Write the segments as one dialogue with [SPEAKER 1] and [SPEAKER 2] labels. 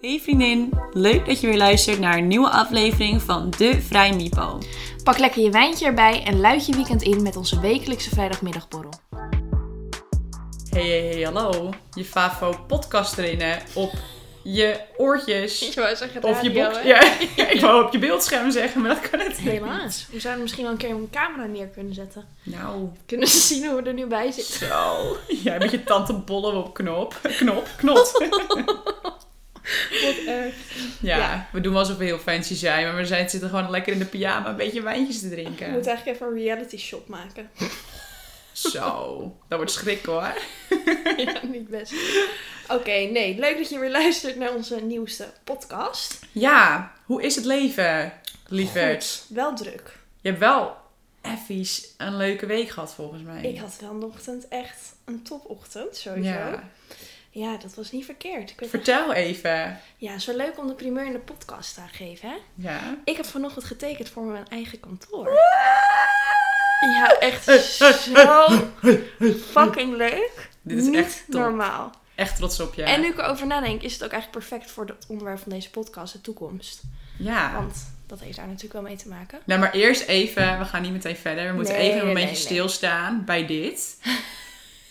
[SPEAKER 1] Hey vriendin, leuk dat je weer luistert naar een nieuwe aflevering van De Vrij Mipo.
[SPEAKER 2] Pak lekker je wijntje erbij en luid je weekend in met onze wekelijkse vrijdagmiddagborrel.
[SPEAKER 1] Hey, hey, hey, hallo. Je favo podcast erin, hè? Op je oortjes.
[SPEAKER 2] wou zeggen
[SPEAKER 1] Of je box. Ja, ik wou op je beeldscherm zeggen, maar dat kan het niet.
[SPEAKER 2] Helaas. We zouden misschien wel een keer een camera neer kunnen zetten.
[SPEAKER 1] Nou,
[SPEAKER 2] Kunnen ze zien hoe we er nu bij zitten.
[SPEAKER 1] zo. Jij met je tante bollen op knop. Knop, knot.
[SPEAKER 2] Wat erg.
[SPEAKER 1] Ja,
[SPEAKER 2] Ja.
[SPEAKER 1] we doen wel alsof we heel fancy zijn, maar we zijn, zitten gewoon lekker in de pyjama een beetje wijntjes te
[SPEAKER 2] We
[SPEAKER 1] drinken.
[SPEAKER 2] moeten eigenlijk even een reality shot maken.
[SPEAKER 1] Zo, dat wordt schrik hoor.
[SPEAKER 2] ja, niet best. Oké, nee. Leuk dat je weer luistert naar onze nieuwste podcast.
[SPEAKER 1] Ja, hoe is het leven, lieverd?
[SPEAKER 2] Wel druk.
[SPEAKER 1] Je hebt wel effies een leuke week gehad volgens mij.
[SPEAKER 2] Ik had wel vanochtend echt een topochtend, sowieso. Ja.
[SPEAKER 1] ja.
[SPEAKER 2] dat was niet verkeerd. Ik weet
[SPEAKER 1] Vertel even.
[SPEAKER 2] Ja, zo leuk om de primeur in de podcast te geven, hè?
[SPEAKER 1] Ja.
[SPEAKER 2] Ik heb vanochtend getekend voor mijn eigen kantoor. Ja, echt zo fucking leuk.
[SPEAKER 1] Dit is
[SPEAKER 2] Niet
[SPEAKER 1] echt top.
[SPEAKER 2] normaal.
[SPEAKER 1] Echt trots op je.
[SPEAKER 2] En nu ik erover nadenk, is het ook eigenlijk perfect voor het onderwerp van deze podcast, de toekomst.
[SPEAKER 1] Ja.
[SPEAKER 2] Want dat heeft daar natuurlijk wel mee te maken.
[SPEAKER 1] Nou, maar eerst even. We gaan niet meteen verder. We moeten
[SPEAKER 2] Nee,
[SPEAKER 1] even een
[SPEAKER 2] nee,
[SPEAKER 1] momentje
[SPEAKER 2] nee.
[SPEAKER 1] stilstaan bij dit.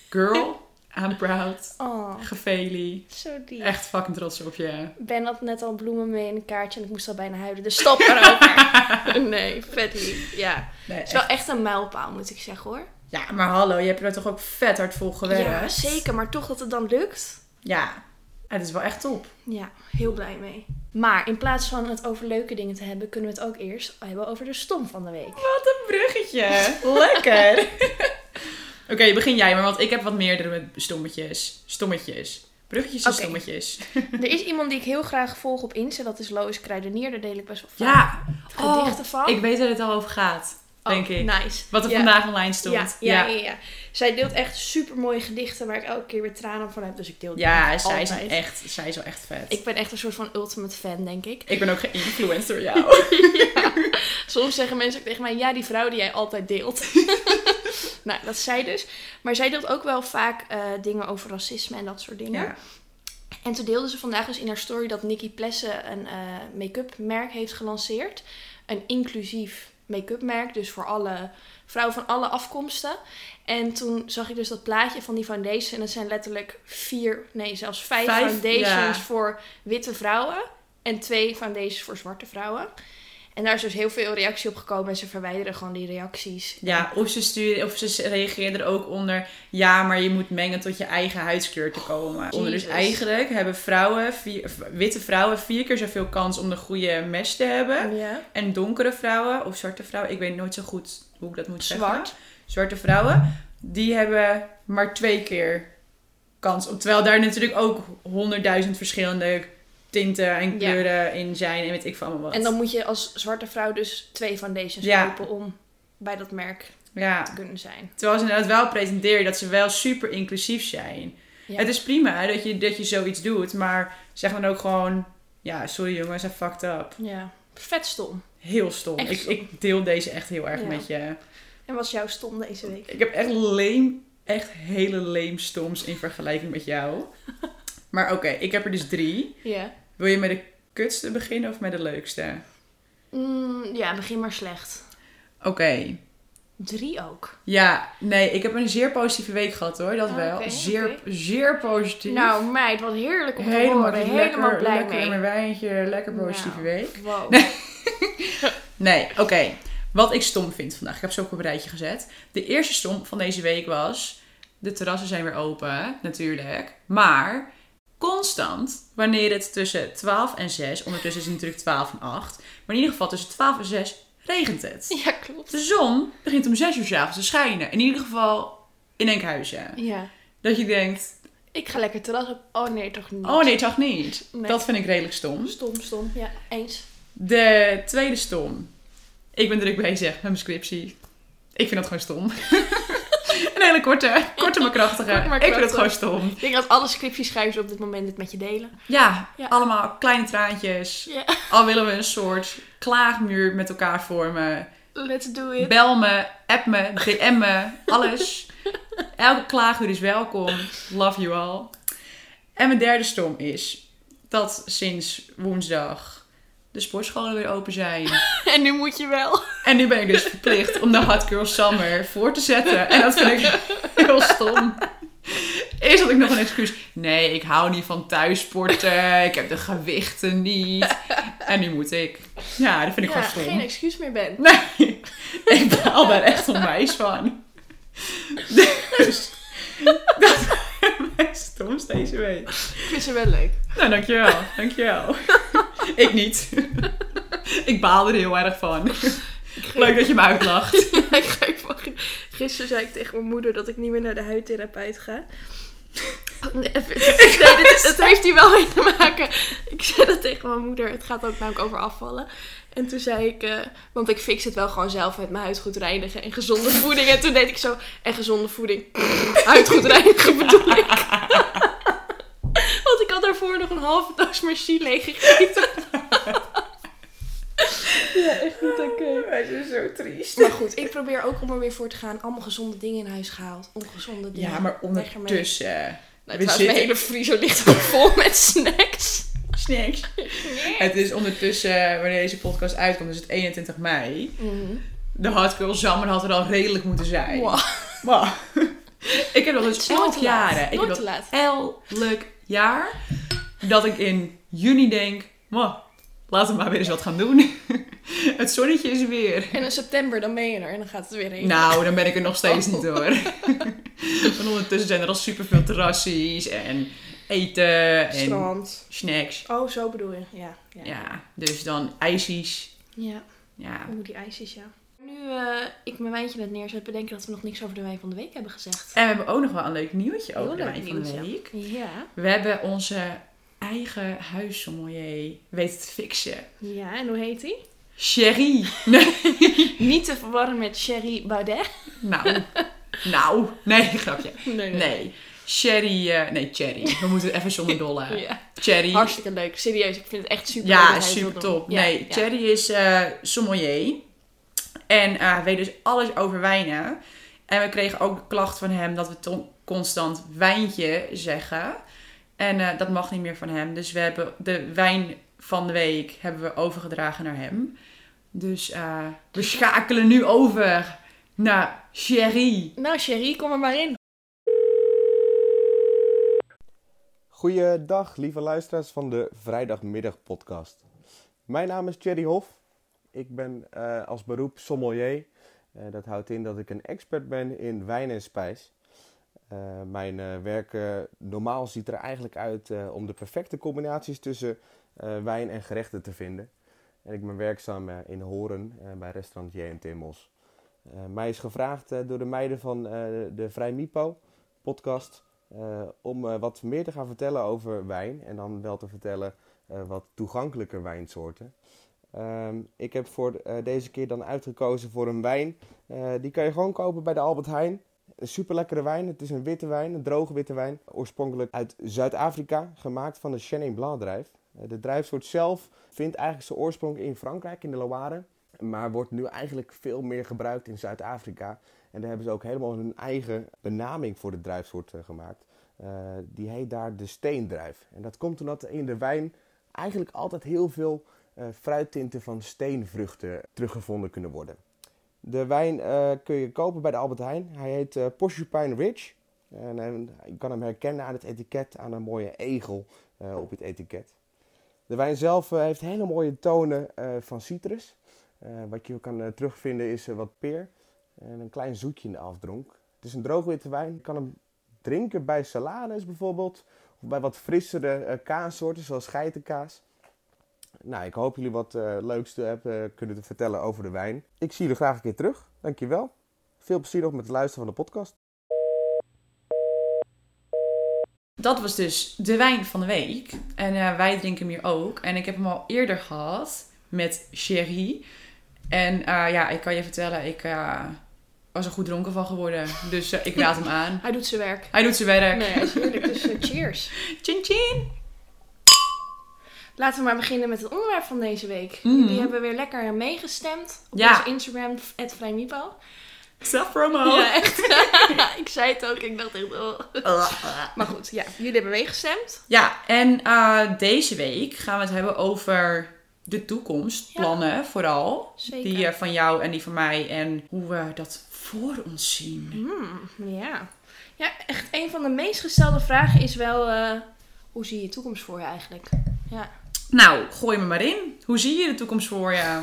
[SPEAKER 1] Girl, I'm proud.
[SPEAKER 2] Oh,
[SPEAKER 1] Gefeli.
[SPEAKER 2] zo diep.
[SPEAKER 1] Echt fucking trots op je.
[SPEAKER 2] Ben had net al bloemen mee in een kaartje en ik moest al bijna huilen. Dus stop erover. nee, vet lief. Ja.
[SPEAKER 1] Nee,
[SPEAKER 2] Het is wel echt een mijlpaal, moet ik zeggen hoor.
[SPEAKER 1] Ja, maar hallo. Je hebt er toch ook vet hard voor gewerkt?
[SPEAKER 2] Ja, zeker. Maar toch dat het dan lukt.
[SPEAKER 1] Ja. Het is wel echt top.
[SPEAKER 2] Ja, heel blij mee. Maar in plaats van het over leuke dingen te hebben, kunnen we het ook eerst hebben over de stom van de week.
[SPEAKER 1] Wat een bruggetje. Lekker. Oké, begin jij maar, want ik heb wat meerdere met stommetjes. Stommetjes. Bruggetjes en
[SPEAKER 2] Oké.
[SPEAKER 1] stommetjes.
[SPEAKER 2] er is iemand die ik heel graag volg op Insta, dat is Lois Kruidenier. Daar deel ik best wel vaak
[SPEAKER 1] Ja, oh,
[SPEAKER 2] gedichten van.
[SPEAKER 1] ik weet waar het al over gaat,
[SPEAKER 2] Oh,
[SPEAKER 1] denk ik.
[SPEAKER 2] Nice.
[SPEAKER 1] Wat er
[SPEAKER 2] Ja.
[SPEAKER 1] vandaag online stond.
[SPEAKER 2] Ja, ja, ja, ja. Zij deelt echt super mooie gedichten waar ik elke keer weer tranen van heb. Dus ik deel die
[SPEAKER 1] Ja,
[SPEAKER 2] echt
[SPEAKER 1] zij, is
[SPEAKER 2] altijd.
[SPEAKER 1] echt, zij is wel echt vet. Ik,
[SPEAKER 2] Ik ben echt een soort van ultimate fan, denk ik.
[SPEAKER 1] ben ook geïnfluenced door jou.
[SPEAKER 2] Soms zeggen mensen ook tegen mij, ja, die vrouw die jij altijd deelt. nou, dat is zij dus. Maar zij deelt ook wel vaak eh, dingen over racisme en dat soort dingen.
[SPEAKER 1] ja.
[SPEAKER 2] En toen deelde ze vandaag dus in haar story dat Nikki Plessen een eh, make-up merk heeft gelanceerd. Een inclusief make-up merk, dus voor alle vrouwen van alle afkomsten. En toen zag ik dus dat plaatje van die foundation. En dat zijn letterlijk vier, nee zelfs vijf,
[SPEAKER 1] Vijf,
[SPEAKER 2] foundations
[SPEAKER 1] ja.
[SPEAKER 2] voor witte vrouwen. En twee foundations voor zwarte vrouwen. En daar is dus heel veel reactie op gekomen. En ze verwijderen gewoon die reacties.
[SPEAKER 1] ja, of ze, sturen, of ze reageerde er ook onder... Ja, maar je moet mengen tot je eigen huidskleur te komen. onder dus
[SPEAKER 2] Jesus.
[SPEAKER 1] eigenlijk hebben vrouwen, vier, witte vrouwen vier keer zoveel kans om de goede mesh te hebben...
[SPEAKER 2] Ja.
[SPEAKER 1] En donkere vrouwen of zwarte vrouwen, ik weet nooit zo goed hoe ik dat moet
[SPEAKER 2] Zwart.
[SPEAKER 1] zeggen. Zwarte vrouwen, die hebben maar twee keer kans op. Terwijl daar natuurlijk ook honderdduizend verschillende tinten en kleuren in zijn en weet ik van allemaal wat.
[SPEAKER 2] En dan moet je als zwarte vrouw dus twee foundations
[SPEAKER 1] Ja.
[SPEAKER 2] kopen om bij dat merk te
[SPEAKER 1] Ja,
[SPEAKER 2] kunnen zijn.
[SPEAKER 1] terwijl ze inderdaad wel pretenderen dat ze wel super inclusief zijn.
[SPEAKER 2] Ja.
[SPEAKER 1] Het is prima dat je, dat je zoiets doet, maar zeg dan ook gewoon... Ja, sorry jongens, I fucked up.
[SPEAKER 2] Ja, vet stom.
[SPEAKER 1] Heel stom.
[SPEAKER 2] Echt
[SPEAKER 1] Ik,
[SPEAKER 2] stom.
[SPEAKER 1] ik deel deze echt heel erg
[SPEAKER 2] Ja.
[SPEAKER 1] met je.
[SPEAKER 2] En wat is jouw stom deze week?
[SPEAKER 1] Ik heb echt leem, echt hele leem stoms in vergelijking met jou. Maar oké, ik heb er dus drie.
[SPEAKER 2] Ja.
[SPEAKER 1] Wil je met de kutste beginnen of met de leukste?
[SPEAKER 2] Mm, ja, begin maar slecht.
[SPEAKER 1] Oké.
[SPEAKER 2] Drie ook.
[SPEAKER 1] Ja, nee, ik heb een zeer positieve week gehad hoor, dat
[SPEAKER 2] Ah,
[SPEAKER 1] wel.
[SPEAKER 2] oké,
[SPEAKER 1] zeer,
[SPEAKER 2] oké.
[SPEAKER 1] zeer positief.
[SPEAKER 2] Nou meid, wat heerlijk om te
[SPEAKER 1] helemaal,
[SPEAKER 2] horen. Helemaal
[SPEAKER 1] lekker,
[SPEAKER 2] blij
[SPEAKER 1] lekker in
[SPEAKER 2] mee.
[SPEAKER 1] mijn wijntje, lekker positieve
[SPEAKER 2] Nou.
[SPEAKER 1] week.
[SPEAKER 2] Wow.
[SPEAKER 1] Nee, oké. Wat ik stom vind vandaag. Ik heb ze ook op een rijtje gezet. De eerste stom van deze week was... De terrassen zijn weer open, natuurlijk. Maar constant, wanneer het tussen 12 en 6... Ondertussen is het natuurlijk 12 en 8. Maar in ieder geval tussen 12 en 6 regent het.
[SPEAKER 2] Ja, klopt.
[SPEAKER 1] De zon begint om 6 uur 's avonds te schijnen. In ieder geval in Enkhuizen.
[SPEAKER 2] Ja.
[SPEAKER 1] Dat je denkt,
[SPEAKER 2] Ik ga lekker terras op. Oh nee, toch niet.
[SPEAKER 1] oh nee, toch niet.
[SPEAKER 2] Nee.
[SPEAKER 1] Dat vind ik redelijk stom.
[SPEAKER 2] Stom, stom. Ja, eens.
[SPEAKER 1] De tweede stom. Ik ben druk bezig met mijn scriptie. Ik vind dat gewoon stom. een hele korte, korte maar krachtige.
[SPEAKER 2] Kort maar
[SPEAKER 1] Ik vind het gewoon
[SPEAKER 2] krachtig.
[SPEAKER 1] stom.
[SPEAKER 2] Ik denk dat alle scriptieschrijvers op dit moment dit met je delen.
[SPEAKER 1] Ja,
[SPEAKER 2] Ja.
[SPEAKER 1] allemaal kleine traantjes.
[SPEAKER 2] Ja,
[SPEAKER 1] Al willen we een soort klaagmuur met elkaar vormen.
[SPEAKER 2] let's do it.
[SPEAKER 1] Bel me, app me, DM me, alles. Elke klaaguur is welkom. Love you all. En mijn derde stom is... dat sinds woensdag de sportscholen weer open zijn.
[SPEAKER 2] En nu moet je wel.
[SPEAKER 1] En nu ben ik dus verplicht om de Hot Girl Summer voor te zetten. En dat vind ik heel stom. Is dat ik nog een excuus? Nee, ik hou niet van thuissporten. Ik heb de gewichten niet. En nu moet ik. Ja, dat vind ik
[SPEAKER 2] ja,
[SPEAKER 1] gewoon stom.
[SPEAKER 2] geen excuus meer ben.
[SPEAKER 1] Nee, ik baal daar echt onwijs van. Dus dat zijn mijn stoms deze week.
[SPEAKER 2] Ik vind ze wel leuk.
[SPEAKER 1] Nou, dankjewel. Dankjewel. Ik niet. Ik baal er heel erg van. Leuk dat je me uitlacht.
[SPEAKER 2] ik ga even- Gisteren zei ik tegen mijn moeder dat ik niet meer naar de huidtherapeut ga. Oh, Nee, even- nee, dit, het heeft hier wel mee te maken. Ik zei dat tegen mijn moeder. Het gaat ook namelijk over afvallen. En toen zei ik, eh, want ik fix het wel gewoon zelf met mijn huid goed reinigen en gezonde voeding. En toen deed ik zo, en gezonde voeding, huid goed reinigen bedoel ik. want ik had daarvoor nog een halve doos machine leeggegeten. ja, echt niet oké.
[SPEAKER 1] Wij zijn zo triest.
[SPEAKER 2] Maar goed, ik probeer ook om er weer voor te gaan. Allemaal gezonde dingen in huis gehaald. Ongezonde dingen.
[SPEAKER 1] Ja, maar
[SPEAKER 2] Weg ermee.
[SPEAKER 1] ondertussen.
[SPEAKER 2] Nou,
[SPEAKER 1] we
[SPEAKER 2] trouwens,
[SPEAKER 1] zitten-
[SPEAKER 2] mijn hele vriezer ligt ook vol met snacks.
[SPEAKER 1] Snacks. Het is ondertussen, wanneer deze podcast uitkomt, is het 21 mei. De Hot Girl Summer had er al redelijk moeten zijn.
[SPEAKER 2] Mhm. Wow.
[SPEAKER 1] Wow. Ik heb dat
[SPEAKER 2] Het
[SPEAKER 1] dus
[SPEAKER 2] is nooit
[SPEAKER 1] elk
[SPEAKER 2] te
[SPEAKER 1] jaar. hè.
[SPEAKER 2] laat.
[SPEAKER 1] Ik heb
[SPEAKER 2] Nooit
[SPEAKER 1] dat
[SPEAKER 2] te laat.
[SPEAKER 1] elk jaar dat ik in juni denk, "Mwah, laten we maar weer eens wat gaan doen. Het zonnetje is weer.
[SPEAKER 2] En in september, dan ben je er en dan gaat het weer heen.
[SPEAKER 1] Nou, dan ben ik er nog steeds
[SPEAKER 2] Oh.
[SPEAKER 1] niet hoor. Want ondertussen zijn er al superveel terrassies en eten en
[SPEAKER 2] Strand.
[SPEAKER 1] snacks.
[SPEAKER 2] Oh, zo bedoel je. Ja. Ja,
[SPEAKER 1] Ja, dus dan ijsjes.
[SPEAKER 2] Ja,
[SPEAKER 1] Ja.
[SPEAKER 2] hoe die ijsjes, ja. Nu eh, ik mijn wijntje net neerzet, bedenk ik dat we nog niks over de wijn van de week hebben gezegd.
[SPEAKER 1] En we hebben ook nog wel een leuk nieuwtje
[SPEAKER 2] Heel
[SPEAKER 1] over de
[SPEAKER 2] leuk
[SPEAKER 1] wijn van
[SPEAKER 2] nieuws,
[SPEAKER 1] de
[SPEAKER 2] ja.
[SPEAKER 1] week.
[SPEAKER 2] Ja.
[SPEAKER 1] We hebben onze eigen huissommelier weten te fixen.
[SPEAKER 2] Ja, en hoe heet die?
[SPEAKER 1] Sherry. Nee.
[SPEAKER 2] Niet te verwarren met Sherry Baudet.
[SPEAKER 1] Nou. Nou. Nee, grapje.
[SPEAKER 2] Nee,
[SPEAKER 1] Nee. Sherry. eh, nee, Cherry. We moeten even zonder dolle.
[SPEAKER 2] Ja.
[SPEAKER 1] Cherry.
[SPEAKER 2] Hartstikke leuk. Serieus, ik vind het echt super leuk dat hij
[SPEAKER 1] Ja,
[SPEAKER 2] het wil
[SPEAKER 1] super
[SPEAKER 2] doen.
[SPEAKER 1] top.
[SPEAKER 2] Ja,
[SPEAKER 1] nee,
[SPEAKER 2] ja.
[SPEAKER 1] Thierry is eh, sommelier. En eh, hij weet dus alles over wijnen. En we kregen ook de klacht van hem dat we to- constant wijntje zeggen. En eh, dat mag niet meer van hem. Dus we hebben de wijn van de week hebben we overgedragen naar hem. Dus eh, we schakelen nu over naar Thierry.
[SPEAKER 2] Nou, Sherry, kom er maar in.
[SPEAKER 3] Goeiedag, lieve luisteraars van de Vrijdagmiddag Podcast. Mijn naam is Thierry Hof. Ik ben eh, als beroep sommelier. Eh, dat houdt in dat ik een expert ben in wijn en spijs. Eh, mijn eh, werk eh, normaal ziet er eigenlijk uit eh, om de perfecte combinaties tussen eh, wijn en gerechten te vinden. En ik ben werkzaam eh, in Horen eh, bij restaurant J&T Timmels. Eh, mij is gevraagd eh, door de meiden van eh, de Vrij Mipo podcast eh, om eh, wat meer te gaan vertellen over wijn. En dan wel te vertellen eh, wat toegankelijker wijnsoorten. Ehm, ik heb voor eh, deze keer dan uitgekozen voor een wijn. Eh, die kan je gewoon kopen bij de Albert Heijn. Een super lekkere wijn. Het is een witte wijn, een droge witte wijn. Oorspronkelijk uit Zuid-Afrika, gemaakt van de Chenin Blanc drijf. Eh, de drijfsoort zelf vindt eigenlijk zijn oorsprong in Frankrijk, in de Loire. Maar wordt nu eigenlijk veel meer gebruikt in Zuid-Afrika. En daar hebben ze ook helemaal hun eigen benaming voor de druifsoort eh, gemaakt. Eh, die heet daar de steendruif. En dat komt omdat in de wijn eigenlijk altijd heel veel eh, fruittinten van steenvruchten teruggevonden kunnen worden. De wijn eh, kun je kopen bij de Albert Heijn. Hij heet eh Porcupine Ridge. En, eh, je kan hem herkennen aan het etiket, aan een mooie egel eh, op het etiket. De wijn zelf eh, heeft hele mooie tonen eh, van citrus. Eh, wat je kan eh, terugvinden is eh, wat peer. En een klein zoetje in de afdronk. Het is een droogwitte wijn. Je kan hem drinken bij salades bijvoorbeeld. Of bij wat frissere eh, kaassoorten zoals geitenkaas. Nou, ik hoop jullie wat eh, leuks te hebben eh, kunnen te vertellen over de wijn. Ik zie jullie graag een keer terug. Dankjewel. Veel plezier nog met het luisteren van de podcast.
[SPEAKER 1] Dat was dus de wijn van de week. En eh, wij drinken hem hier ook. En ik heb hem al eerder gehad met Sherry. En eh, ja, ik kan je vertellen, ik eh, was er goed dronken van geworden. Dus eh, ik raad hem aan.
[SPEAKER 2] Hij doet zijn werk.
[SPEAKER 1] Hij doet zijn werk.
[SPEAKER 2] Nee, hij is heerlijk, dus eh, cheers.
[SPEAKER 1] Chin chin.
[SPEAKER 2] Laten we maar beginnen met het onderwerp van deze week.
[SPEAKER 1] Mhm.
[SPEAKER 2] Die hebben weer lekker meegestemd op
[SPEAKER 1] Ja. Oh.
[SPEAKER 2] ons Instagram, @vrijmipo.
[SPEAKER 1] Zelfpromo.
[SPEAKER 2] Ja, echt. ik zei het ook. Ik dacht echt... oh. Maar goed, ja. Jullie hebben meegestemd.
[SPEAKER 1] Ja, en eh, deze week gaan we het hebben over de toekomst,
[SPEAKER 2] Ja.
[SPEAKER 1] plannen vooral.
[SPEAKER 2] Zeker.
[SPEAKER 1] Die eh, van jou en die van mij en hoe we dat voor ons zien.
[SPEAKER 2] Hmm, ja. Ja, echt een van de meest gestelde vragen is wel... eh, hoe zie je je toekomst voor je eigenlijk? Ja.
[SPEAKER 1] Nou, gooi me maar in. Hoe zie je de toekomst voor je?
[SPEAKER 2] Ja,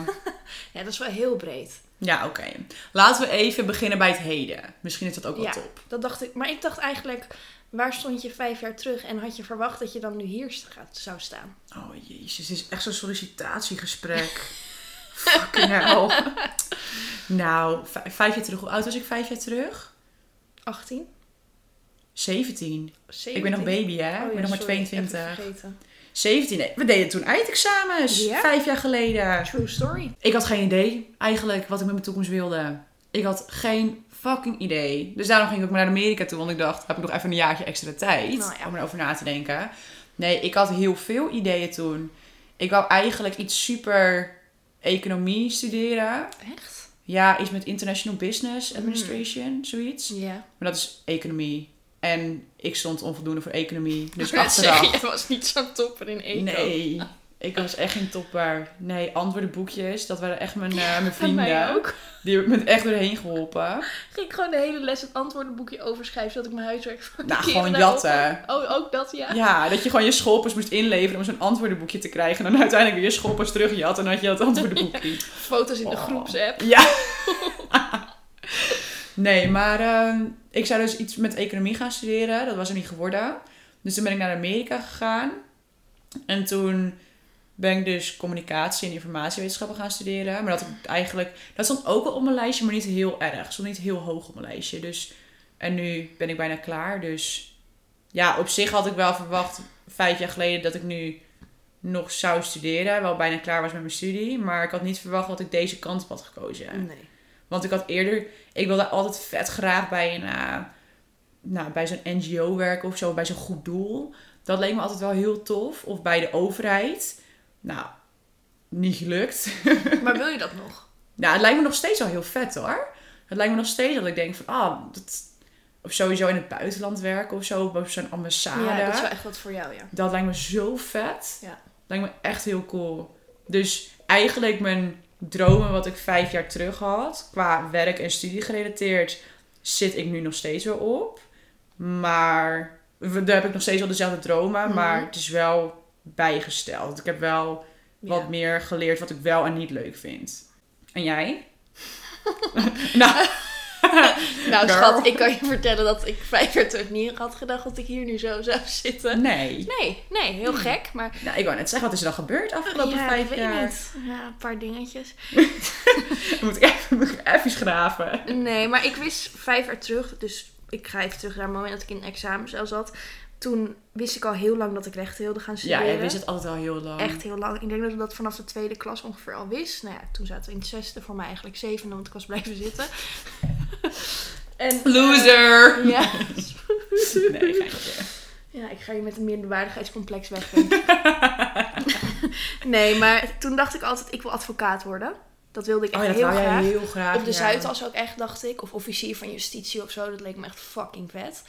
[SPEAKER 2] dat is wel heel breed.
[SPEAKER 1] ja, oké. Laten we even beginnen bij het heden. Misschien is dat ook wel
[SPEAKER 2] Ja.
[SPEAKER 1] top.
[SPEAKER 2] Dat dacht ik. Maar ik dacht eigenlijk... Waar stond je vijf jaar terug en had je verwacht dat je dan nu hier gaat- zou staan?
[SPEAKER 1] Oh jezus, dit is echt zo'n sollicitatiegesprek. Fucking hell. nou, vij- vijf jaar terug. Hoe oud was ik vijf jaar terug?
[SPEAKER 2] 18?
[SPEAKER 1] 17. Ik
[SPEAKER 2] 17?
[SPEAKER 1] ben nog baby, hè?
[SPEAKER 2] Oh ja,
[SPEAKER 1] ik ben nog maar
[SPEAKER 2] sorry, even
[SPEAKER 1] 22.
[SPEAKER 2] vergeten.
[SPEAKER 1] 17. nee, We deden toen eindexamens.
[SPEAKER 2] Ja?
[SPEAKER 1] Vijf jaar geleden.
[SPEAKER 2] True story.
[SPEAKER 1] Ik had geen idee eigenlijk wat ik met mijn toekomst wilde. Ik had geen fucking idee. Dus daarom ging ik ook maar naar Amerika toe. Want ik dacht, heb ik nog even een jaartje extra tijd
[SPEAKER 2] Nou ja.
[SPEAKER 1] om erover na te denken. Nee, ik had heel veel ideeën toen. Ik wou eigenlijk iets super economie studeren.
[SPEAKER 2] Echt?
[SPEAKER 1] Ja, iets met International Business
[SPEAKER 2] Mhm.
[SPEAKER 1] Administration, zoiets.
[SPEAKER 2] Ja.
[SPEAKER 1] Maar dat is economie. En ik stond onvoldoende voor economie. Dus
[SPEAKER 2] Ik wou net zeggen,
[SPEAKER 1] achteraf.
[SPEAKER 2] jij was niet zo'n topper in één
[SPEAKER 1] Nee, ik was echt geen topper. Nee, antwoordenboekjes, dat waren echt mijn, eh, mijn
[SPEAKER 2] Van mij
[SPEAKER 1] vrienden.
[SPEAKER 2] ook.
[SPEAKER 1] Die hebben me echt doorheen geholpen.
[SPEAKER 2] Ging ik gewoon de hele les het antwoordenboekje overschrijven zodat ik mijn huiswerk van de
[SPEAKER 1] Nou,
[SPEAKER 2] kinderen
[SPEAKER 1] gewoon jatten.
[SPEAKER 2] daarop- Oh, ook dat ja.
[SPEAKER 1] Ja, dat je gewoon je schoolpas moest inleveren om zo'n antwoordenboekje te krijgen. En dan uiteindelijk weer je schoolpas terugjat en dan had je dat antwoordenboekje.
[SPEAKER 2] Foto's in de
[SPEAKER 1] Oh.
[SPEAKER 2] groepsapp.
[SPEAKER 1] Ja. Nee, maar ehm, ik zou dus iets met economie gaan studeren. Dat was er niet geworden. Dus toen ben ik naar Amerika gegaan. En toen ben ik dus communicatie en informatiewetenschappen gaan studeren. Maar dat ik eigenlijk... Dat stond ook wel op mijn lijstje, maar niet heel erg. Stond niet heel hoog op mijn lijstje. Dus, en nu ben ik bijna klaar. Dus ja, op zich had ik wel verwacht vijf jaar geleden dat ik nu nog zou studeren. Wel bijna klaar was met mijn studie. Maar ik had niet verwacht dat ik deze kant op had gekozen.
[SPEAKER 2] Nee.
[SPEAKER 1] Want ik had eerder, ik wilde altijd vet graag bij een, eh, nou, bij zo'n NGO werken of zo, bij zo'n goed doel. Dat leek me altijd wel heel tof. Of bij de overheid. Nou, niet gelukt.
[SPEAKER 2] Maar wil je dat nog?
[SPEAKER 1] nou, het lijkt me nog steeds wel heel vet hoor. Het lijkt me nog steeds dat ik denk van, ah, dat, of sowieso in het buitenland werken of zo, op zo'n ambassade.
[SPEAKER 2] ja, dat is wel echt wat voor jou ja.
[SPEAKER 1] Dat lijkt me zo vet.
[SPEAKER 2] Ja.
[SPEAKER 1] Lijkt me echt heel cool. Dus eigenlijk mijn dromen wat ik vijf jaar terug had, qua werk en studie gerelateerd, zit ik nu nog steeds wel op. Maar we- daar heb ik nog steeds wel dezelfde dromen,
[SPEAKER 2] Mhm.
[SPEAKER 1] maar het is wel bijgesteld. Ik heb wel wat
[SPEAKER 2] Ja.
[SPEAKER 1] meer geleerd wat ik wel en niet leuk vind. En jij? nou, Girl.
[SPEAKER 2] Nou schat, ik kan je vertellen dat ik vijf jaar terug niet had gedacht dat ik hier nu zo zou zitten.
[SPEAKER 1] nee.
[SPEAKER 2] Nee, nee, heel gek, maar
[SPEAKER 1] Nou, ik wou net zeggen, wat is er dan gebeurd afgelopen
[SPEAKER 2] ja,
[SPEAKER 1] vijf
[SPEAKER 2] weet
[SPEAKER 1] jaar?
[SPEAKER 2] niet. Ja, een paar dingetjes.
[SPEAKER 1] Moet ik even, moet ik even graven.
[SPEAKER 2] Nee, maar ik wist vijf jaar terug, dus ik ga even terug naar het moment dat ik in examen zelf zat. Toen wist ik al heel lang dat ik rechten wilde gaan
[SPEAKER 1] Ja,
[SPEAKER 2] studeren.
[SPEAKER 1] jij wist het altijd al heel lang.
[SPEAKER 2] Echt heel lang. Ik denk dat ik dat vanaf de tweede klas ongeveer al wist. Nou ja, toen zaten we in het zesde, voor mij eigenlijk zevende, want ik was blijven zitten. en, eh,
[SPEAKER 1] Loser!
[SPEAKER 2] ja.
[SPEAKER 1] Nee, geintje.
[SPEAKER 2] ja, ik ga je met een minderwaardigheidscomplex weg. denk ik. nee, maar toen dacht ik altijd, ik wil advocaat worden. Dat wilde ik echt
[SPEAKER 1] Oh, ja, dat
[SPEAKER 2] heel
[SPEAKER 1] wou jij
[SPEAKER 2] graag.
[SPEAKER 1] heel graag.
[SPEAKER 2] Op de
[SPEAKER 1] ja.
[SPEAKER 2] Zuidas ook echt, dacht ik. Of officier van justitie of zo. Dat leek me echt fucking vet.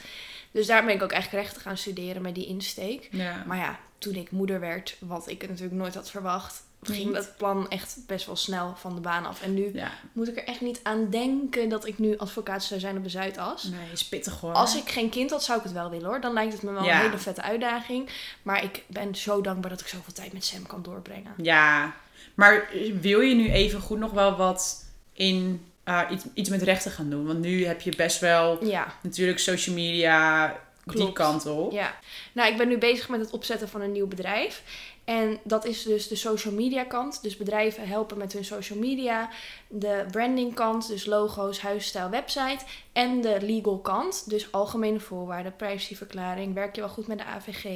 [SPEAKER 2] Dus daar ben ik ook echt rechten gaan studeren met die insteek.
[SPEAKER 1] Ja.
[SPEAKER 2] Maar ja, toen ik moeder werd, wat ik natuurlijk nooit had verwacht, ging
[SPEAKER 1] Niet.
[SPEAKER 2] dat plan echt best wel snel van de baan af. En nu
[SPEAKER 1] ja.
[SPEAKER 2] moet ik er echt niet aan denken dat ik nu advocaat zou zijn op de Zuidas.
[SPEAKER 1] Nee, is pittig hoor.
[SPEAKER 2] Als ik geen kind had, zou ik het wel willen hoor. Dan lijkt het me wel
[SPEAKER 1] Ja.
[SPEAKER 2] een hele vette uitdaging. Maar ik ben zo dankbaar dat ik zoveel tijd met Sam kan doorbrengen.
[SPEAKER 1] Ja. Maar wil je nu even goed nog wel wat in eh, iets, iets met rechten gaan doen? Want nu heb je best wel
[SPEAKER 2] Ja,
[SPEAKER 1] natuurlijk social media die
[SPEAKER 2] Klopt.
[SPEAKER 1] kant op.
[SPEAKER 2] Ja. Nou, ik ben nu bezig met het opzetten van een nieuw bedrijf. En dat is dus de social media kant. Dus bedrijven helpen met hun social media. De branding kant, dus logo's, huisstijl, website. En de legal kant, dus algemene voorwaarden, privacyverklaring. Werk je wel goed met de AVG?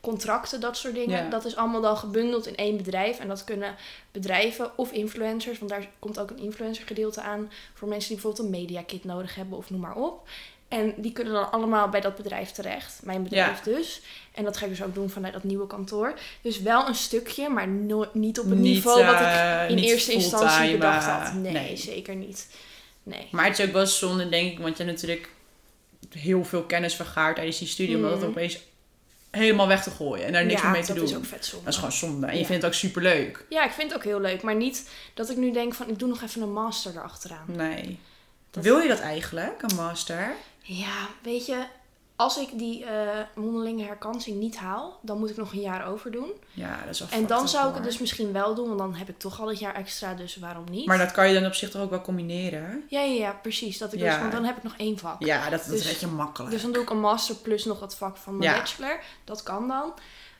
[SPEAKER 2] Contracten, dat soort dingen.
[SPEAKER 1] Ja.
[SPEAKER 2] Dat is allemaal dan gebundeld in één bedrijf. En dat kunnen bedrijven of influencers, want daar komt ook een influencer gedeelte aan. Voor mensen die bijvoorbeeld een mediakit nodig hebben of noem maar op. En die kunnen dan allemaal bij dat bedrijf terecht. Mijn bedrijf dus. En dat ga ik dus ook doen vanuit dat nieuwe kantoor. Dus wel een stukje, maar no- niet op het
[SPEAKER 1] Niet,
[SPEAKER 2] niveau wat ik
[SPEAKER 1] eh,
[SPEAKER 2] in
[SPEAKER 1] niet
[SPEAKER 2] eerste instantie
[SPEAKER 1] fulltime,
[SPEAKER 2] bedacht
[SPEAKER 1] eh,
[SPEAKER 2] had. Nee,
[SPEAKER 1] nee.
[SPEAKER 2] zeker niet. Nee.
[SPEAKER 1] Maar het is ook wel zonde, denk ik, want je hebt natuurlijk heel veel kennis vergaard tijdens die studie, om dat
[SPEAKER 2] Mhm.
[SPEAKER 1] opeens helemaal weg te gooien en daar niks meer mee te
[SPEAKER 2] dat
[SPEAKER 1] doen.
[SPEAKER 2] is ook vet zonde.
[SPEAKER 1] Dat is gewoon zonde. En je
[SPEAKER 2] Ja.
[SPEAKER 1] vindt het ook superleuk.
[SPEAKER 2] Ja, ik vind het ook heel leuk. Maar niet dat ik nu denk van, ik doe nog even een master erachteraan.
[SPEAKER 1] Nee.
[SPEAKER 2] Dat-
[SPEAKER 1] Wil je dat eigenlijk, een master?
[SPEAKER 2] Ja, weet je, als ik die eh, mondelinge herkansing niet haal, dan moet ik nog een jaar overdoen.
[SPEAKER 1] Ja, dat is wel
[SPEAKER 2] En
[SPEAKER 1] fucked
[SPEAKER 2] dan
[SPEAKER 1] up,
[SPEAKER 2] zou ik
[SPEAKER 1] hoor.
[SPEAKER 2] het dus misschien wel doen, want dan heb ik toch al het jaar extra, dus waarom niet?
[SPEAKER 1] Maar dat kan je dan op zich toch ook wel combineren?
[SPEAKER 2] Ja, ja, ja, precies. Dat ik
[SPEAKER 1] Ja.
[SPEAKER 2] dus, want dan heb ik nog één vak.
[SPEAKER 1] Ja, dat, dat
[SPEAKER 2] Dus-
[SPEAKER 1] red je makkelijk.
[SPEAKER 2] Dus dan doe ik een master plus nog dat vak van mijn
[SPEAKER 1] Ja.
[SPEAKER 2] bachelor. Dat kan dan.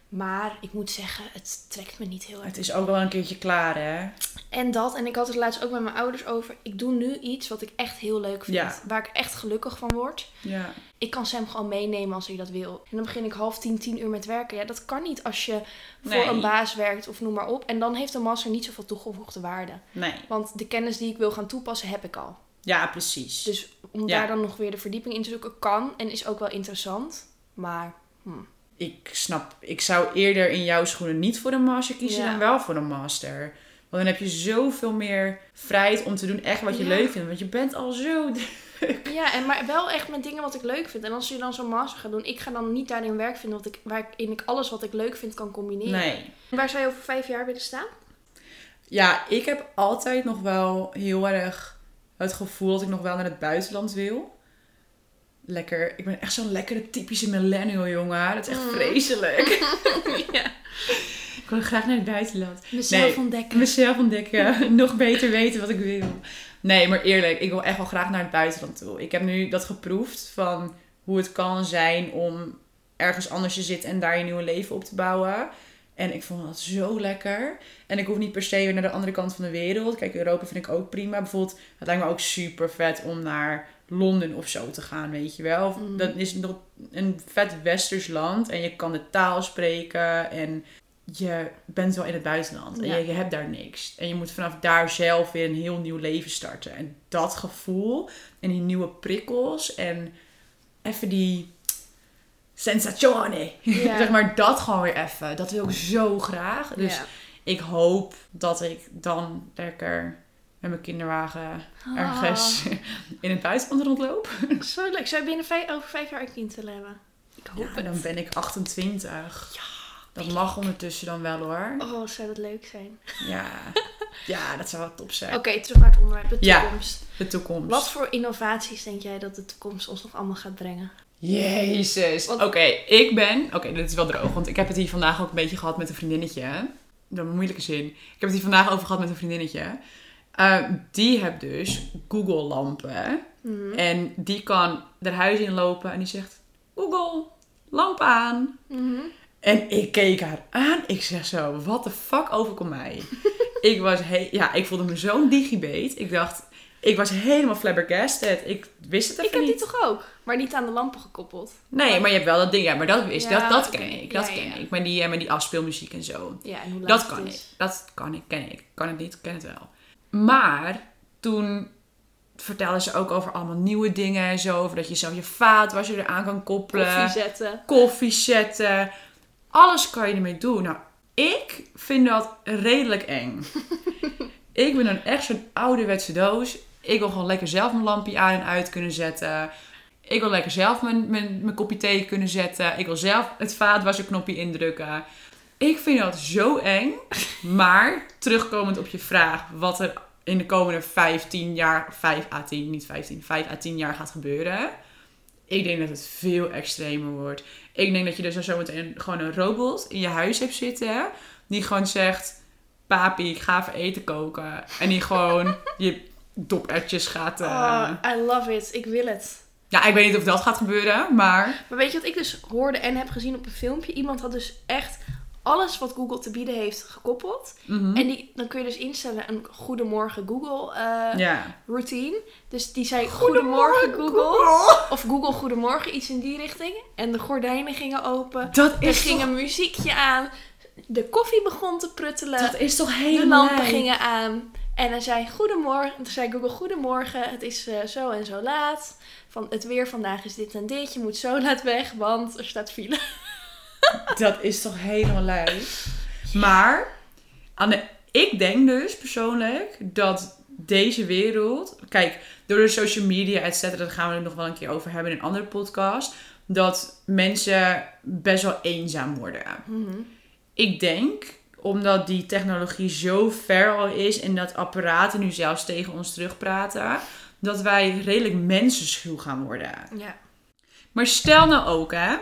[SPEAKER 2] Maar ik moet zeggen, het trekt me niet heel erg.
[SPEAKER 1] Het is ook wel een keertje klaar, hè?
[SPEAKER 2] En dat, en ik had het laatst ook met mijn ouders over. Ik doe nu iets wat ik echt heel leuk vind.
[SPEAKER 1] Ja.
[SPEAKER 2] Waar ik echt gelukkig van word.
[SPEAKER 1] Ja.
[SPEAKER 2] Ik kan Sam gewoon meenemen als hij dat wil. En dan begin ik half tien, tien uur met werken. Ja, dat kan niet als je voor
[SPEAKER 1] Nee.
[SPEAKER 2] een baas werkt of noem maar op. En dan heeft een master niet zoveel toegevoegde waarde.
[SPEAKER 1] Nee.
[SPEAKER 2] Want de kennis die ik wil gaan toepassen, heb ik al.
[SPEAKER 1] Ja, precies.
[SPEAKER 2] Dus om
[SPEAKER 1] Ja.
[SPEAKER 2] daar dan nog weer de verdieping in te zoeken kan en is ook wel interessant. Maar hm.
[SPEAKER 1] Ik snap, ik zou eerder in jouw schoenen niet voor een master kiezen
[SPEAKER 2] Ja.
[SPEAKER 1] dan wel voor een master. Want dan heb je zoveel meer vrijheid om te doen echt wat je
[SPEAKER 2] Ja.
[SPEAKER 1] leuk vindt. Want je bent al zo...
[SPEAKER 2] ja, en maar wel echt met dingen wat ik leuk vind. En als je dan zo'n master gaat doen, ik ga dan niet daarin werk vinden wat ik, waarin ik alles wat ik leuk vind kan combineren.
[SPEAKER 1] Nee.
[SPEAKER 2] Waar zou je over vijf jaar willen staan?
[SPEAKER 1] Ja, ik heb altijd nog wel heel erg het gevoel dat ik nog wel naar het buitenland wil. Lekker. Ik ben echt zo'n lekkere typische millennial, jongen. Dat is echt
[SPEAKER 2] Mm.
[SPEAKER 1] vreselijk.
[SPEAKER 2] ja.
[SPEAKER 1] ik wil graag naar het buitenland.
[SPEAKER 2] Mezelf
[SPEAKER 1] Nee.
[SPEAKER 2] ontdekken.
[SPEAKER 1] mezelf ontdekken. Nog beter weten wat ik wil. Nee, maar eerlijk, ik wil echt wel graag naar het buitenland toe. Ik heb nu dat geproefd van hoe het kan zijn om ergens anders te zitten en daar je nieuwe leven op te bouwen. En ik vond dat zo lekker. En ik hoef niet per se weer naar de andere kant van de wereld. Kijk, Europa vind ik ook prima. Bijvoorbeeld, het lijkt me ook super vet om naar Londen of zo te gaan, weet je wel. Of
[SPEAKER 2] Mhm.
[SPEAKER 1] Dat is nog een vet westers land en je kan de taal spreken en je bent wel in het buitenland en
[SPEAKER 2] Ja.
[SPEAKER 1] je, je hebt daar niks. En je moet vanaf daar zelf weer een heel nieuw leven starten. En dat gevoel en die nieuwe prikkels en even die sensazione.
[SPEAKER 2] Ja.
[SPEAKER 1] zeg maar dat gewoon weer even. Dat wil ik zo graag. Dus
[SPEAKER 2] Ja.
[SPEAKER 1] ik hoop dat ik dan lekker met mijn kinderwagen ergens in het buitenland rondloop.
[SPEAKER 2] Ah, zo leuk. Zou je binnen vijf, over vijf jaar een kind willen hebben? Ik hoop
[SPEAKER 1] Ja, dan ben ik 28. dat mag ondertussen dan wel hoor.
[SPEAKER 2] Oh, zou dat leuk zijn.
[SPEAKER 1] Ja, ja dat zou wel top zijn.
[SPEAKER 2] Oké, terug naar het onderwerp. De
[SPEAKER 1] Ja.
[SPEAKER 2] toekomst.
[SPEAKER 1] De toekomst.
[SPEAKER 2] Wat voor innovaties denk jij dat de toekomst ons nog allemaal gaat brengen?
[SPEAKER 1] Jezus.
[SPEAKER 2] Want-
[SPEAKER 1] Oké, ik ben... Oké, dit is wel droog, want ik heb het hier vandaag ook een beetje gehad met een vriendinnetje. Dat is een moeilijke zin. Ik heb het hier vandaag over gehad met een vriendinnetje. Eh, die hebt dus Google-lampen.
[SPEAKER 2] Mhm.
[SPEAKER 1] En die kan haar huis inlopen en die zegt... Google, lamp aan.
[SPEAKER 2] Mhm.
[SPEAKER 1] En ik keek haar aan. Ik zeg zo, wat de fuck overkomt mij? ik was he- ja, ik voelde me zo'n digibate. Ik dacht, ik was helemaal flabbergasted. Ik wist het even
[SPEAKER 2] Ik heb
[SPEAKER 1] niet.
[SPEAKER 2] die toch ook, maar niet aan de lampen gekoppeld.
[SPEAKER 1] Nee, maar je hebt wel dat ding. Ja, maar dat is
[SPEAKER 2] Ja,
[SPEAKER 1] dat, dat
[SPEAKER 2] oké.
[SPEAKER 1] ken ik. Dat
[SPEAKER 2] Ja,
[SPEAKER 1] ken
[SPEAKER 2] ja.
[SPEAKER 1] ik. Maar die, eh, maar die afspeelmuziek en zo.
[SPEAKER 2] Ja, en hoe laat
[SPEAKER 1] Dat kan
[SPEAKER 2] het
[SPEAKER 1] ik.
[SPEAKER 2] is.
[SPEAKER 1] Dat kan ik, ken ik. Kan het niet, ken het wel. Maar toen vertelde ze ook over allemaal nieuwe dingen en zo. Over dat je zelf je vaatwasser eraan kan koppelen
[SPEAKER 2] Koffie zetten.
[SPEAKER 1] koffie zetten. Alles kan je ermee doen. Nou, ik vind dat redelijk eng. ik ben dan echt zo'n ouderwetse doos. Ik wil gewoon lekker zelf mijn lampje aan en uit kunnen zetten. Ik wil lekker zelf mijn, mijn, mijn kopje thee kunnen zetten. Ik wil zelf het vaatwasserknopje indrukken. Ik vind dat zo eng. Maar terugkomend op je vraag wat er in de komende 15 jaar, 5 à 10, niet 15, 5 à 10 jaar gaat gebeuren. Ik denk dat het veel extremer wordt. Ik denk dat je dus dan zometeen gewoon een robot in je huis hebt zitten. Die gewoon zegt, papi, ik ga even eten koken. En die gewoon je dopertjes gaat... eh,
[SPEAKER 2] Oh, I love it. Ik wil het.
[SPEAKER 1] Ja, ik weet niet of dat gaat gebeuren, maar...
[SPEAKER 2] Maar weet je wat ik dus hoorde en heb gezien op een filmpje? Iemand had dus echt alles wat Google te bieden heeft gekoppeld.
[SPEAKER 1] mhm.
[SPEAKER 2] En die, dan kun je dus instellen een Goedemorgen Google eh,
[SPEAKER 1] ja.
[SPEAKER 2] routine. Dus die zei Goedemorgen Google. Of Google Goedemorgen, iets in die richting. En de gordijnen gingen open.
[SPEAKER 1] Dat
[SPEAKER 2] Er
[SPEAKER 1] is,
[SPEAKER 2] ging
[SPEAKER 1] toch,
[SPEAKER 2] een muziekje aan. De koffie begon te pruttelen.
[SPEAKER 1] dat is toch
[SPEAKER 2] De
[SPEAKER 1] helemaal...
[SPEAKER 2] lampen gingen aan. En hij zei goedemorgen. Toen zei Google goedemorgen. Het is eh, zo en zo laat. Van het weer vandaag is dit en dit. Je moet zo laat weg, want er staat file.
[SPEAKER 1] Dat is toch helemaal lui. Maar aan de, ik denk dus persoonlijk dat deze wereld. Kijk, door de social media, et cetera, daar gaan we het nog wel een keer over hebben in een andere podcast. Dat mensen best wel eenzaam worden.
[SPEAKER 2] Mhm.
[SPEAKER 1] Ik denk, omdat die technologie zo ver al is en dat apparaten nu zelfs tegen ons terugpraten, dat wij redelijk mensenschuw gaan worden.
[SPEAKER 2] Ja.
[SPEAKER 1] Maar stel nou ook, hè.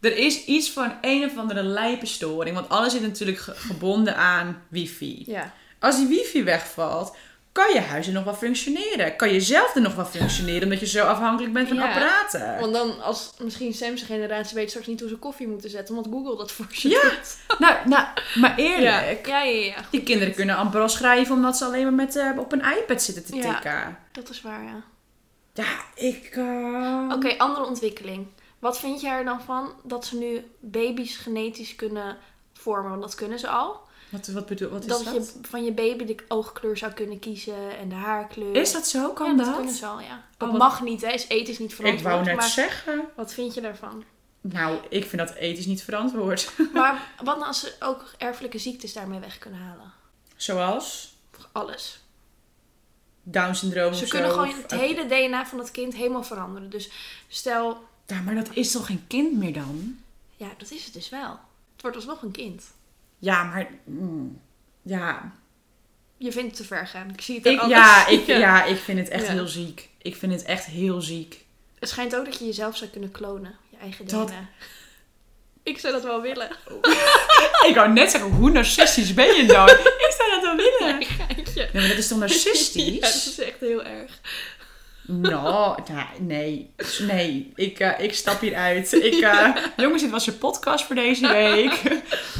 [SPEAKER 1] Er is iets van een of andere lijpe storing. Want alles is natuurlijk ge- gebonden aan wifi.
[SPEAKER 2] ja.
[SPEAKER 1] Als die wifi wegvalt, kan je huis er nog wel functioneren. Kan je zelf er nog wel functioneren, omdat je zo afhankelijk bent van
[SPEAKER 2] Ja.
[SPEAKER 1] apparaten.
[SPEAKER 2] Want dan, als misschien Sam's generatie weet straks niet hoe ze koffie moeten zetten, want Google dat voor ze
[SPEAKER 1] Ja,
[SPEAKER 2] doet.
[SPEAKER 1] Nou, nou, maar eerlijk.
[SPEAKER 2] Ja, ja, ja. ja.
[SPEAKER 1] Die kinderen kunnen amper al schrijven, omdat ze alleen maar met, eh, op een iPad zitten te
[SPEAKER 2] Ja.
[SPEAKER 1] tikken.
[SPEAKER 2] Dat is waar, ja.
[SPEAKER 1] Ja, ik... eh,
[SPEAKER 2] Oké, andere ontwikkeling. Wat vind jij er dan van dat ze nu baby's genetisch kunnen vormen? Want dat kunnen ze al.
[SPEAKER 1] Wat, wat bedoel wat is
[SPEAKER 2] dat
[SPEAKER 1] dat?
[SPEAKER 2] je van je baby de oogkleur zou kunnen kiezen en de haarkleur.
[SPEAKER 1] Is dat zo? Kan
[SPEAKER 2] ja, dat?
[SPEAKER 1] dat?
[SPEAKER 2] kunnen ze al, ja. Dat
[SPEAKER 1] Oh, wat-
[SPEAKER 2] mag niet, hè. Is ethisch niet
[SPEAKER 1] ik
[SPEAKER 2] verantwoord.
[SPEAKER 1] wou net
[SPEAKER 2] maar
[SPEAKER 1] zeggen.
[SPEAKER 2] wat vind je daarvan?
[SPEAKER 1] Nou, ik vind dat ethisch niet verantwoord.
[SPEAKER 2] maar wat nou als ze ook erfelijke ziektes daarmee weg kunnen halen?
[SPEAKER 1] Zoals
[SPEAKER 2] Alles.
[SPEAKER 1] Down syndroom
[SPEAKER 2] Ze
[SPEAKER 1] of
[SPEAKER 2] kunnen
[SPEAKER 1] zo, Oh,
[SPEAKER 2] gewoon
[SPEAKER 1] of-
[SPEAKER 2] het hele DNA van dat kind helemaal veranderen. Dus stel,
[SPEAKER 1] Ja, maar dat is toch geen kind meer dan?
[SPEAKER 2] ja, dat is het dus wel. Het wordt alsnog een kind.
[SPEAKER 1] Ja, maar... mm, ja.
[SPEAKER 2] Je vindt het te ver gaan. Ik zie het
[SPEAKER 1] Ik,
[SPEAKER 2] aan
[SPEAKER 1] ja,
[SPEAKER 2] alles.
[SPEAKER 1] ik, ja, ik vind het echt
[SPEAKER 2] Ja.
[SPEAKER 1] heel ziek. Ik vind het echt heel ziek.
[SPEAKER 2] Het schijnt ook dat je jezelf zou kunnen klonen. Je eigen
[SPEAKER 1] Dat-
[SPEAKER 2] DNA. Ik zou dat wel willen.
[SPEAKER 1] Ah, Ik wou net zeggen, hoe narcistisch ben je dan? ik zou dat wel willen.
[SPEAKER 2] Geintje.
[SPEAKER 1] Nee, maar dat is toch
[SPEAKER 2] Ja, dat
[SPEAKER 1] narcistisch?
[SPEAKER 2] is echt heel erg.
[SPEAKER 1] Nou, ja, nee. Nee, ik, eh, ik stap hieruit. Ik, eh, Jongens, dit was je podcast voor deze week.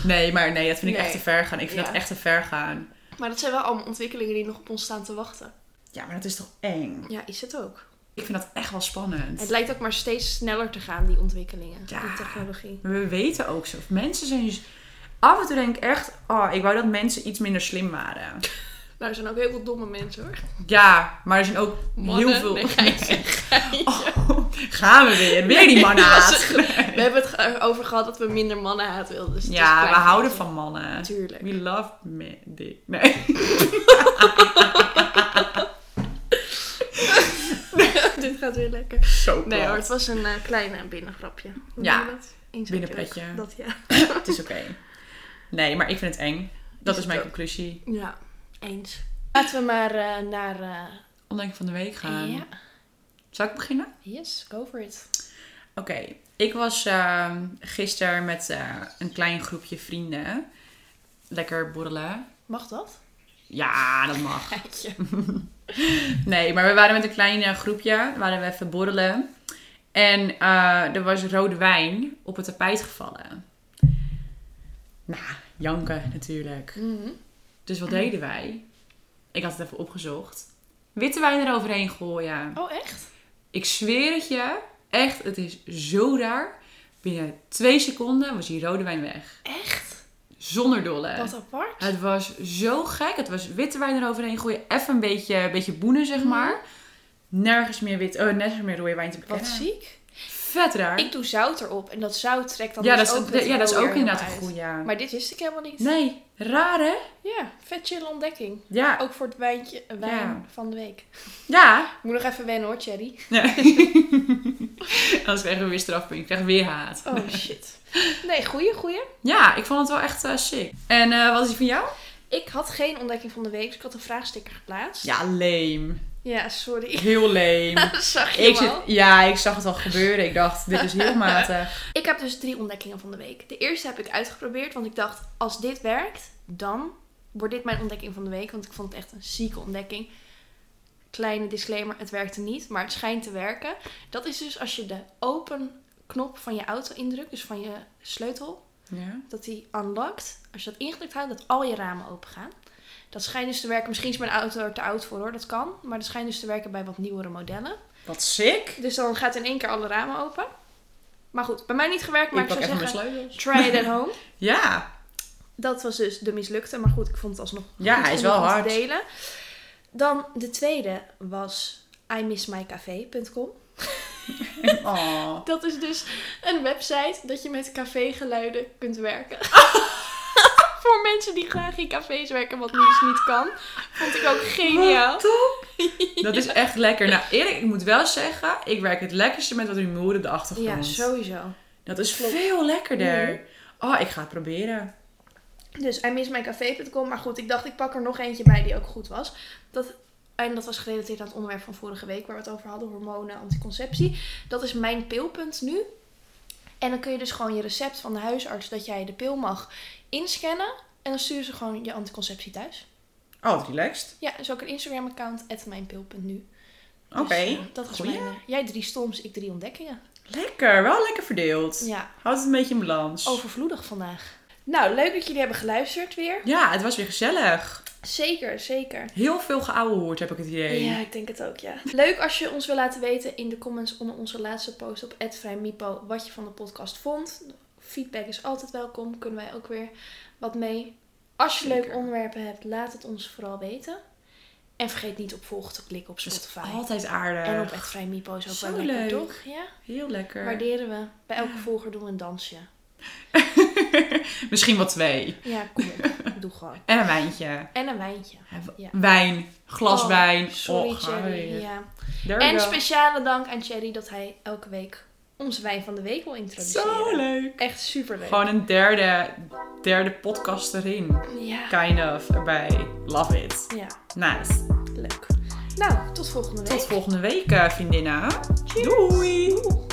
[SPEAKER 1] Nee, maar nee, dat vind ik
[SPEAKER 2] Nee.
[SPEAKER 1] echt te ver gaan. Ik vind
[SPEAKER 2] Ja.
[SPEAKER 1] dat echt te ver gaan.
[SPEAKER 2] Maar dat zijn wel allemaal ontwikkelingen die nog op ons staan te wachten.
[SPEAKER 1] Ja, maar dat is toch eng?
[SPEAKER 2] Ja, is het ook.
[SPEAKER 1] Ik vind dat echt wel spannend.
[SPEAKER 2] Het lijkt ook maar steeds sneller te gaan, die ontwikkelingen.
[SPEAKER 1] Ja.
[SPEAKER 2] Die technologie.
[SPEAKER 1] Maar We weten ook zo. Mensen zijn... z- Af en toe denk ik echt... Oh, ik wou dat mensen iets minder slim waren.
[SPEAKER 2] Nou, er zijn ook heel veel domme mensen hoor.
[SPEAKER 1] Ja, maar er zijn ook
[SPEAKER 2] Mannen,
[SPEAKER 1] heel veel...
[SPEAKER 2] nee, geintje, geintje.
[SPEAKER 1] Oh, gaan we weer. Weer die mannenhaat.
[SPEAKER 2] We hebben het ge- over gehad dat we minder mannenhaat wilden. Dus het is
[SPEAKER 1] Ja, we
[SPEAKER 2] klein
[SPEAKER 1] houden
[SPEAKER 2] beetje.
[SPEAKER 1] van mannen.
[SPEAKER 2] Tuurlijk.
[SPEAKER 1] We love men. Nee. nee.
[SPEAKER 2] Dit gaat weer lekker.
[SPEAKER 1] Zo
[SPEAKER 2] Nee hoor,
[SPEAKER 1] plat.
[SPEAKER 2] het was een eh, kleine binnengrapje. Hoe
[SPEAKER 1] Ja.
[SPEAKER 2] noem je dat? Inzetjerig.
[SPEAKER 1] Binnenpretje.
[SPEAKER 2] Dat ja.
[SPEAKER 1] Het is oké. Nee, maar ik vind het eng. Dat
[SPEAKER 2] Is
[SPEAKER 1] is mijn
[SPEAKER 2] het ook.
[SPEAKER 1] conclusie.
[SPEAKER 2] Ja, eens. Laten we maar eh, naar... eh,
[SPEAKER 1] Ontdekking van de week gaan.
[SPEAKER 2] Ja,
[SPEAKER 1] Zal ik beginnen?
[SPEAKER 2] yes, go for it.
[SPEAKER 1] Oké, ik was ehm gisteren met eh, een klein groepje vrienden. Lekker borrelen.
[SPEAKER 2] Mag dat?
[SPEAKER 1] Ja, dat mag.
[SPEAKER 2] Geitje.
[SPEAKER 1] Nee, maar we waren met een klein eh, groepje. Waren we even borrelen. En eh, er was rode wijn op het tapijt gevallen. Nou, janken natuurlijk.
[SPEAKER 2] Mhm.
[SPEAKER 1] Dus wat deden wij? Ik had het even opgezocht. Witte wijn eroverheen gooien.
[SPEAKER 2] Oh, echt?
[SPEAKER 1] Ik zweer het je. Echt, het is zo raar. Binnen twee seconden was die rode wijn weg.
[SPEAKER 2] Echt?
[SPEAKER 1] Zonder dolle.
[SPEAKER 2] Wat apart.
[SPEAKER 1] Eh, Het was zo gek. Het was witte wijn eroverheen gooien. Even een beetje, een beetje boenen, zeg maar. Nergens meer, wit, oh, nergens meer rode wijn te
[SPEAKER 2] Mhm. Wat
[SPEAKER 1] bekennen.
[SPEAKER 2] ziek.
[SPEAKER 1] Vet raar.
[SPEAKER 2] Ik doe zout erop en dat zout trekt dan
[SPEAKER 1] ja,
[SPEAKER 2] dus
[SPEAKER 1] dat
[SPEAKER 2] ook
[SPEAKER 1] is,
[SPEAKER 2] het
[SPEAKER 1] ja, dat is
[SPEAKER 2] rauw
[SPEAKER 1] ook
[SPEAKER 2] weer
[SPEAKER 1] inderdaad een
[SPEAKER 2] helemaal uit.
[SPEAKER 1] goede. Ja.
[SPEAKER 2] Maar dit wist ik helemaal niet.
[SPEAKER 1] Nee, raar hè?
[SPEAKER 2] Ja, vet chill ontdekking.
[SPEAKER 1] Ja.
[SPEAKER 2] Ook voor het wijntje, eh, wijn
[SPEAKER 1] Ja.
[SPEAKER 2] van de week.
[SPEAKER 1] Ja.
[SPEAKER 2] Ik moet nog even wennen hoor, Cherry.
[SPEAKER 1] Anders krijgen we weer strafpunt. Ik krijg weer haat.
[SPEAKER 2] Oh shit. Nee, goeie, goeie.
[SPEAKER 1] Ja, ik vond het wel echt eh, sick. En eh, wat is die van jou?
[SPEAKER 2] Ik had geen ontdekking van de week, dus ik had een vraagsticker geplaatst.
[SPEAKER 1] Ja, lame.
[SPEAKER 2] Ja, sorry.
[SPEAKER 1] Heel lame.
[SPEAKER 2] Zag je
[SPEAKER 1] Ik
[SPEAKER 2] hem
[SPEAKER 1] zit,
[SPEAKER 2] al?
[SPEAKER 1] ja, ik zag het al gebeuren. Ik dacht, dit is heel matig.
[SPEAKER 2] Ik heb dus drie ontdekkingen van de week. De eerste heb ik uitgeprobeerd, want ik dacht, als dit werkt, dan wordt dit mijn ontdekking van de week. Want ik vond het echt een zieke ontdekking. Kleine disclaimer, het werkte niet, maar het schijnt te werken. Dat is dus als je de open knop van je auto indrukt, dus van je sleutel,
[SPEAKER 1] Ja.
[SPEAKER 2] dat die unlocked. Als je dat ingedrukt houdt, dat al je ramen open gaan. Dat schijnt dus te werken. Misschien is mijn auto er te oud voor hoor, dat kan. Maar dat schijnt dus te werken bij wat nieuwere modellen.
[SPEAKER 1] Wat sick.
[SPEAKER 2] Dus dan gaat in één keer alle ramen open. Maar goed, bij mij niet gewerkt, maar
[SPEAKER 1] ik
[SPEAKER 2] ik,
[SPEAKER 1] pak
[SPEAKER 2] zou
[SPEAKER 1] even mijn
[SPEAKER 2] zeggen...
[SPEAKER 1] sleutels.
[SPEAKER 2] Try it at home.
[SPEAKER 1] Ja.
[SPEAKER 2] Dat was dus de mislukte. Maar goed, ik vond het alsnog
[SPEAKER 1] Ja,
[SPEAKER 2] goed
[SPEAKER 1] hij is
[SPEAKER 2] genoeg
[SPEAKER 1] wel
[SPEAKER 2] om te
[SPEAKER 1] hard.
[SPEAKER 2] delen. Dan de tweede was imissmycafé.com.
[SPEAKER 1] Oh.
[SPEAKER 2] Dat is dus een website dat je met cafégeluiden kunt werken. Voor mensen die graag in cafés werken, wat nu dus niet kan. Vond ik ook geniaal.
[SPEAKER 1] Wat top! Dat is echt lekker. Nou, eerlijk, ik moet wel zeggen, ik werk het lekkerste met wat rumoer op de achtergrond.
[SPEAKER 2] Ja, sowieso.
[SPEAKER 1] Dat is
[SPEAKER 2] Klopt. Mhm.
[SPEAKER 1] veel lekkerder. Oh, ik ga het proberen.
[SPEAKER 2] Dus I miss mijn café.com. Maar goed, ik dacht ik pak er nog eentje bij die ook goed was. Dat, en dat was gerelateerd aan het onderwerp van vorige week waar we het over hadden. Hormonen, anticonceptie. Dat is mijn pilpunt nu. En dan kun je dus gewoon je recept van de huisarts dat jij de pil mag inscannen. En dan sturen ze gewoon je anticonceptie thuis.
[SPEAKER 1] Oh, relaxed.
[SPEAKER 2] Ja, dus ook een Instagram account, mijnpil.nu.
[SPEAKER 1] Oké.
[SPEAKER 2] Dus, eh, dat is
[SPEAKER 1] Goeie.
[SPEAKER 2] mijn... eh, jij drie stoms, ik drie ontdekkingen.
[SPEAKER 1] Lekker, wel lekker verdeeld.
[SPEAKER 2] Ja,
[SPEAKER 1] Houd het een beetje in balans.
[SPEAKER 2] overvloedig vandaag. Nou, leuk dat jullie hebben geluisterd weer.
[SPEAKER 1] Ja, het was weer gezellig.
[SPEAKER 2] Zeker, zeker.
[SPEAKER 1] Heel veel geouwehoerd heb ik het idee.
[SPEAKER 2] Ja, ik denk het ook, ja. Leuk als je ons wil laten weten in de comments onder onze laatste post op @vrijmipo wat je van de podcast vond. Feedback is altijd welkom, kunnen wij ook weer wat mee. Als je
[SPEAKER 1] Zeker.
[SPEAKER 2] leuke onderwerpen hebt, laat het ons vooral weten. En vergeet niet op volgen te klikken op
[SPEAKER 1] Dat is
[SPEAKER 2] Spotify.
[SPEAKER 1] altijd aardig.
[SPEAKER 2] En op @vrijmipo is ook
[SPEAKER 1] Zo
[SPEAKER 2] wel lekker,
[SPEAKER 1] leuk.
[SPEAKER 2] toch? Ja,
[SPEAKER 1] Heel lekker.
[SPEAKER 2] waarderen we. Bij elke volger doen we een dansje.
[SPEAKER 1] Misschien wel twee.
[SPEAKER 2] Ja, kom op. Doe gewoon.
[SPEAKER 1] En een wijntje.
[SPEAKER 2] En een wijntje. Ja.
[SPEAKER 1] Wijn, glas
[SPEAKER 2] Oh,
[SPEAKER 1] wijn.
[SPEAKER 2] Sorry,
[SPEAKER 1] Och,
[SPEAKER 2] Cherry.
[SPEAKER 1] hi.
[SPEAKER 2] Ja.
[SPEAKER 1] There we
[SPEAKER 2] En
[SPEAKER 1] go.
[SPEAKER 2] speciale dank aan Cherry dat hij elke week ons wijn van de week wil introduceren.
[SPEAKER 1] Zo leuk.
[SPEAKER 2] Echt superleuk.
[SPEAKER 1] Gewoon een derde, derde podcast erin.
[SPEAKER 2] Ja.
[SPEAKER 1] Kind of erbij. Love it.
[SPEAKER 2] ja,
[SPEAKER 1] Nice.
[SPEAKER 2] leuk. Nou, tot volgende week.
[SPEAKER 1] Tot volgende week, eh, vriendinnen.
[SPEAKER 2] Cheers.
[SPEAKER 1] Doei.
[SPEAKER 2] Doei.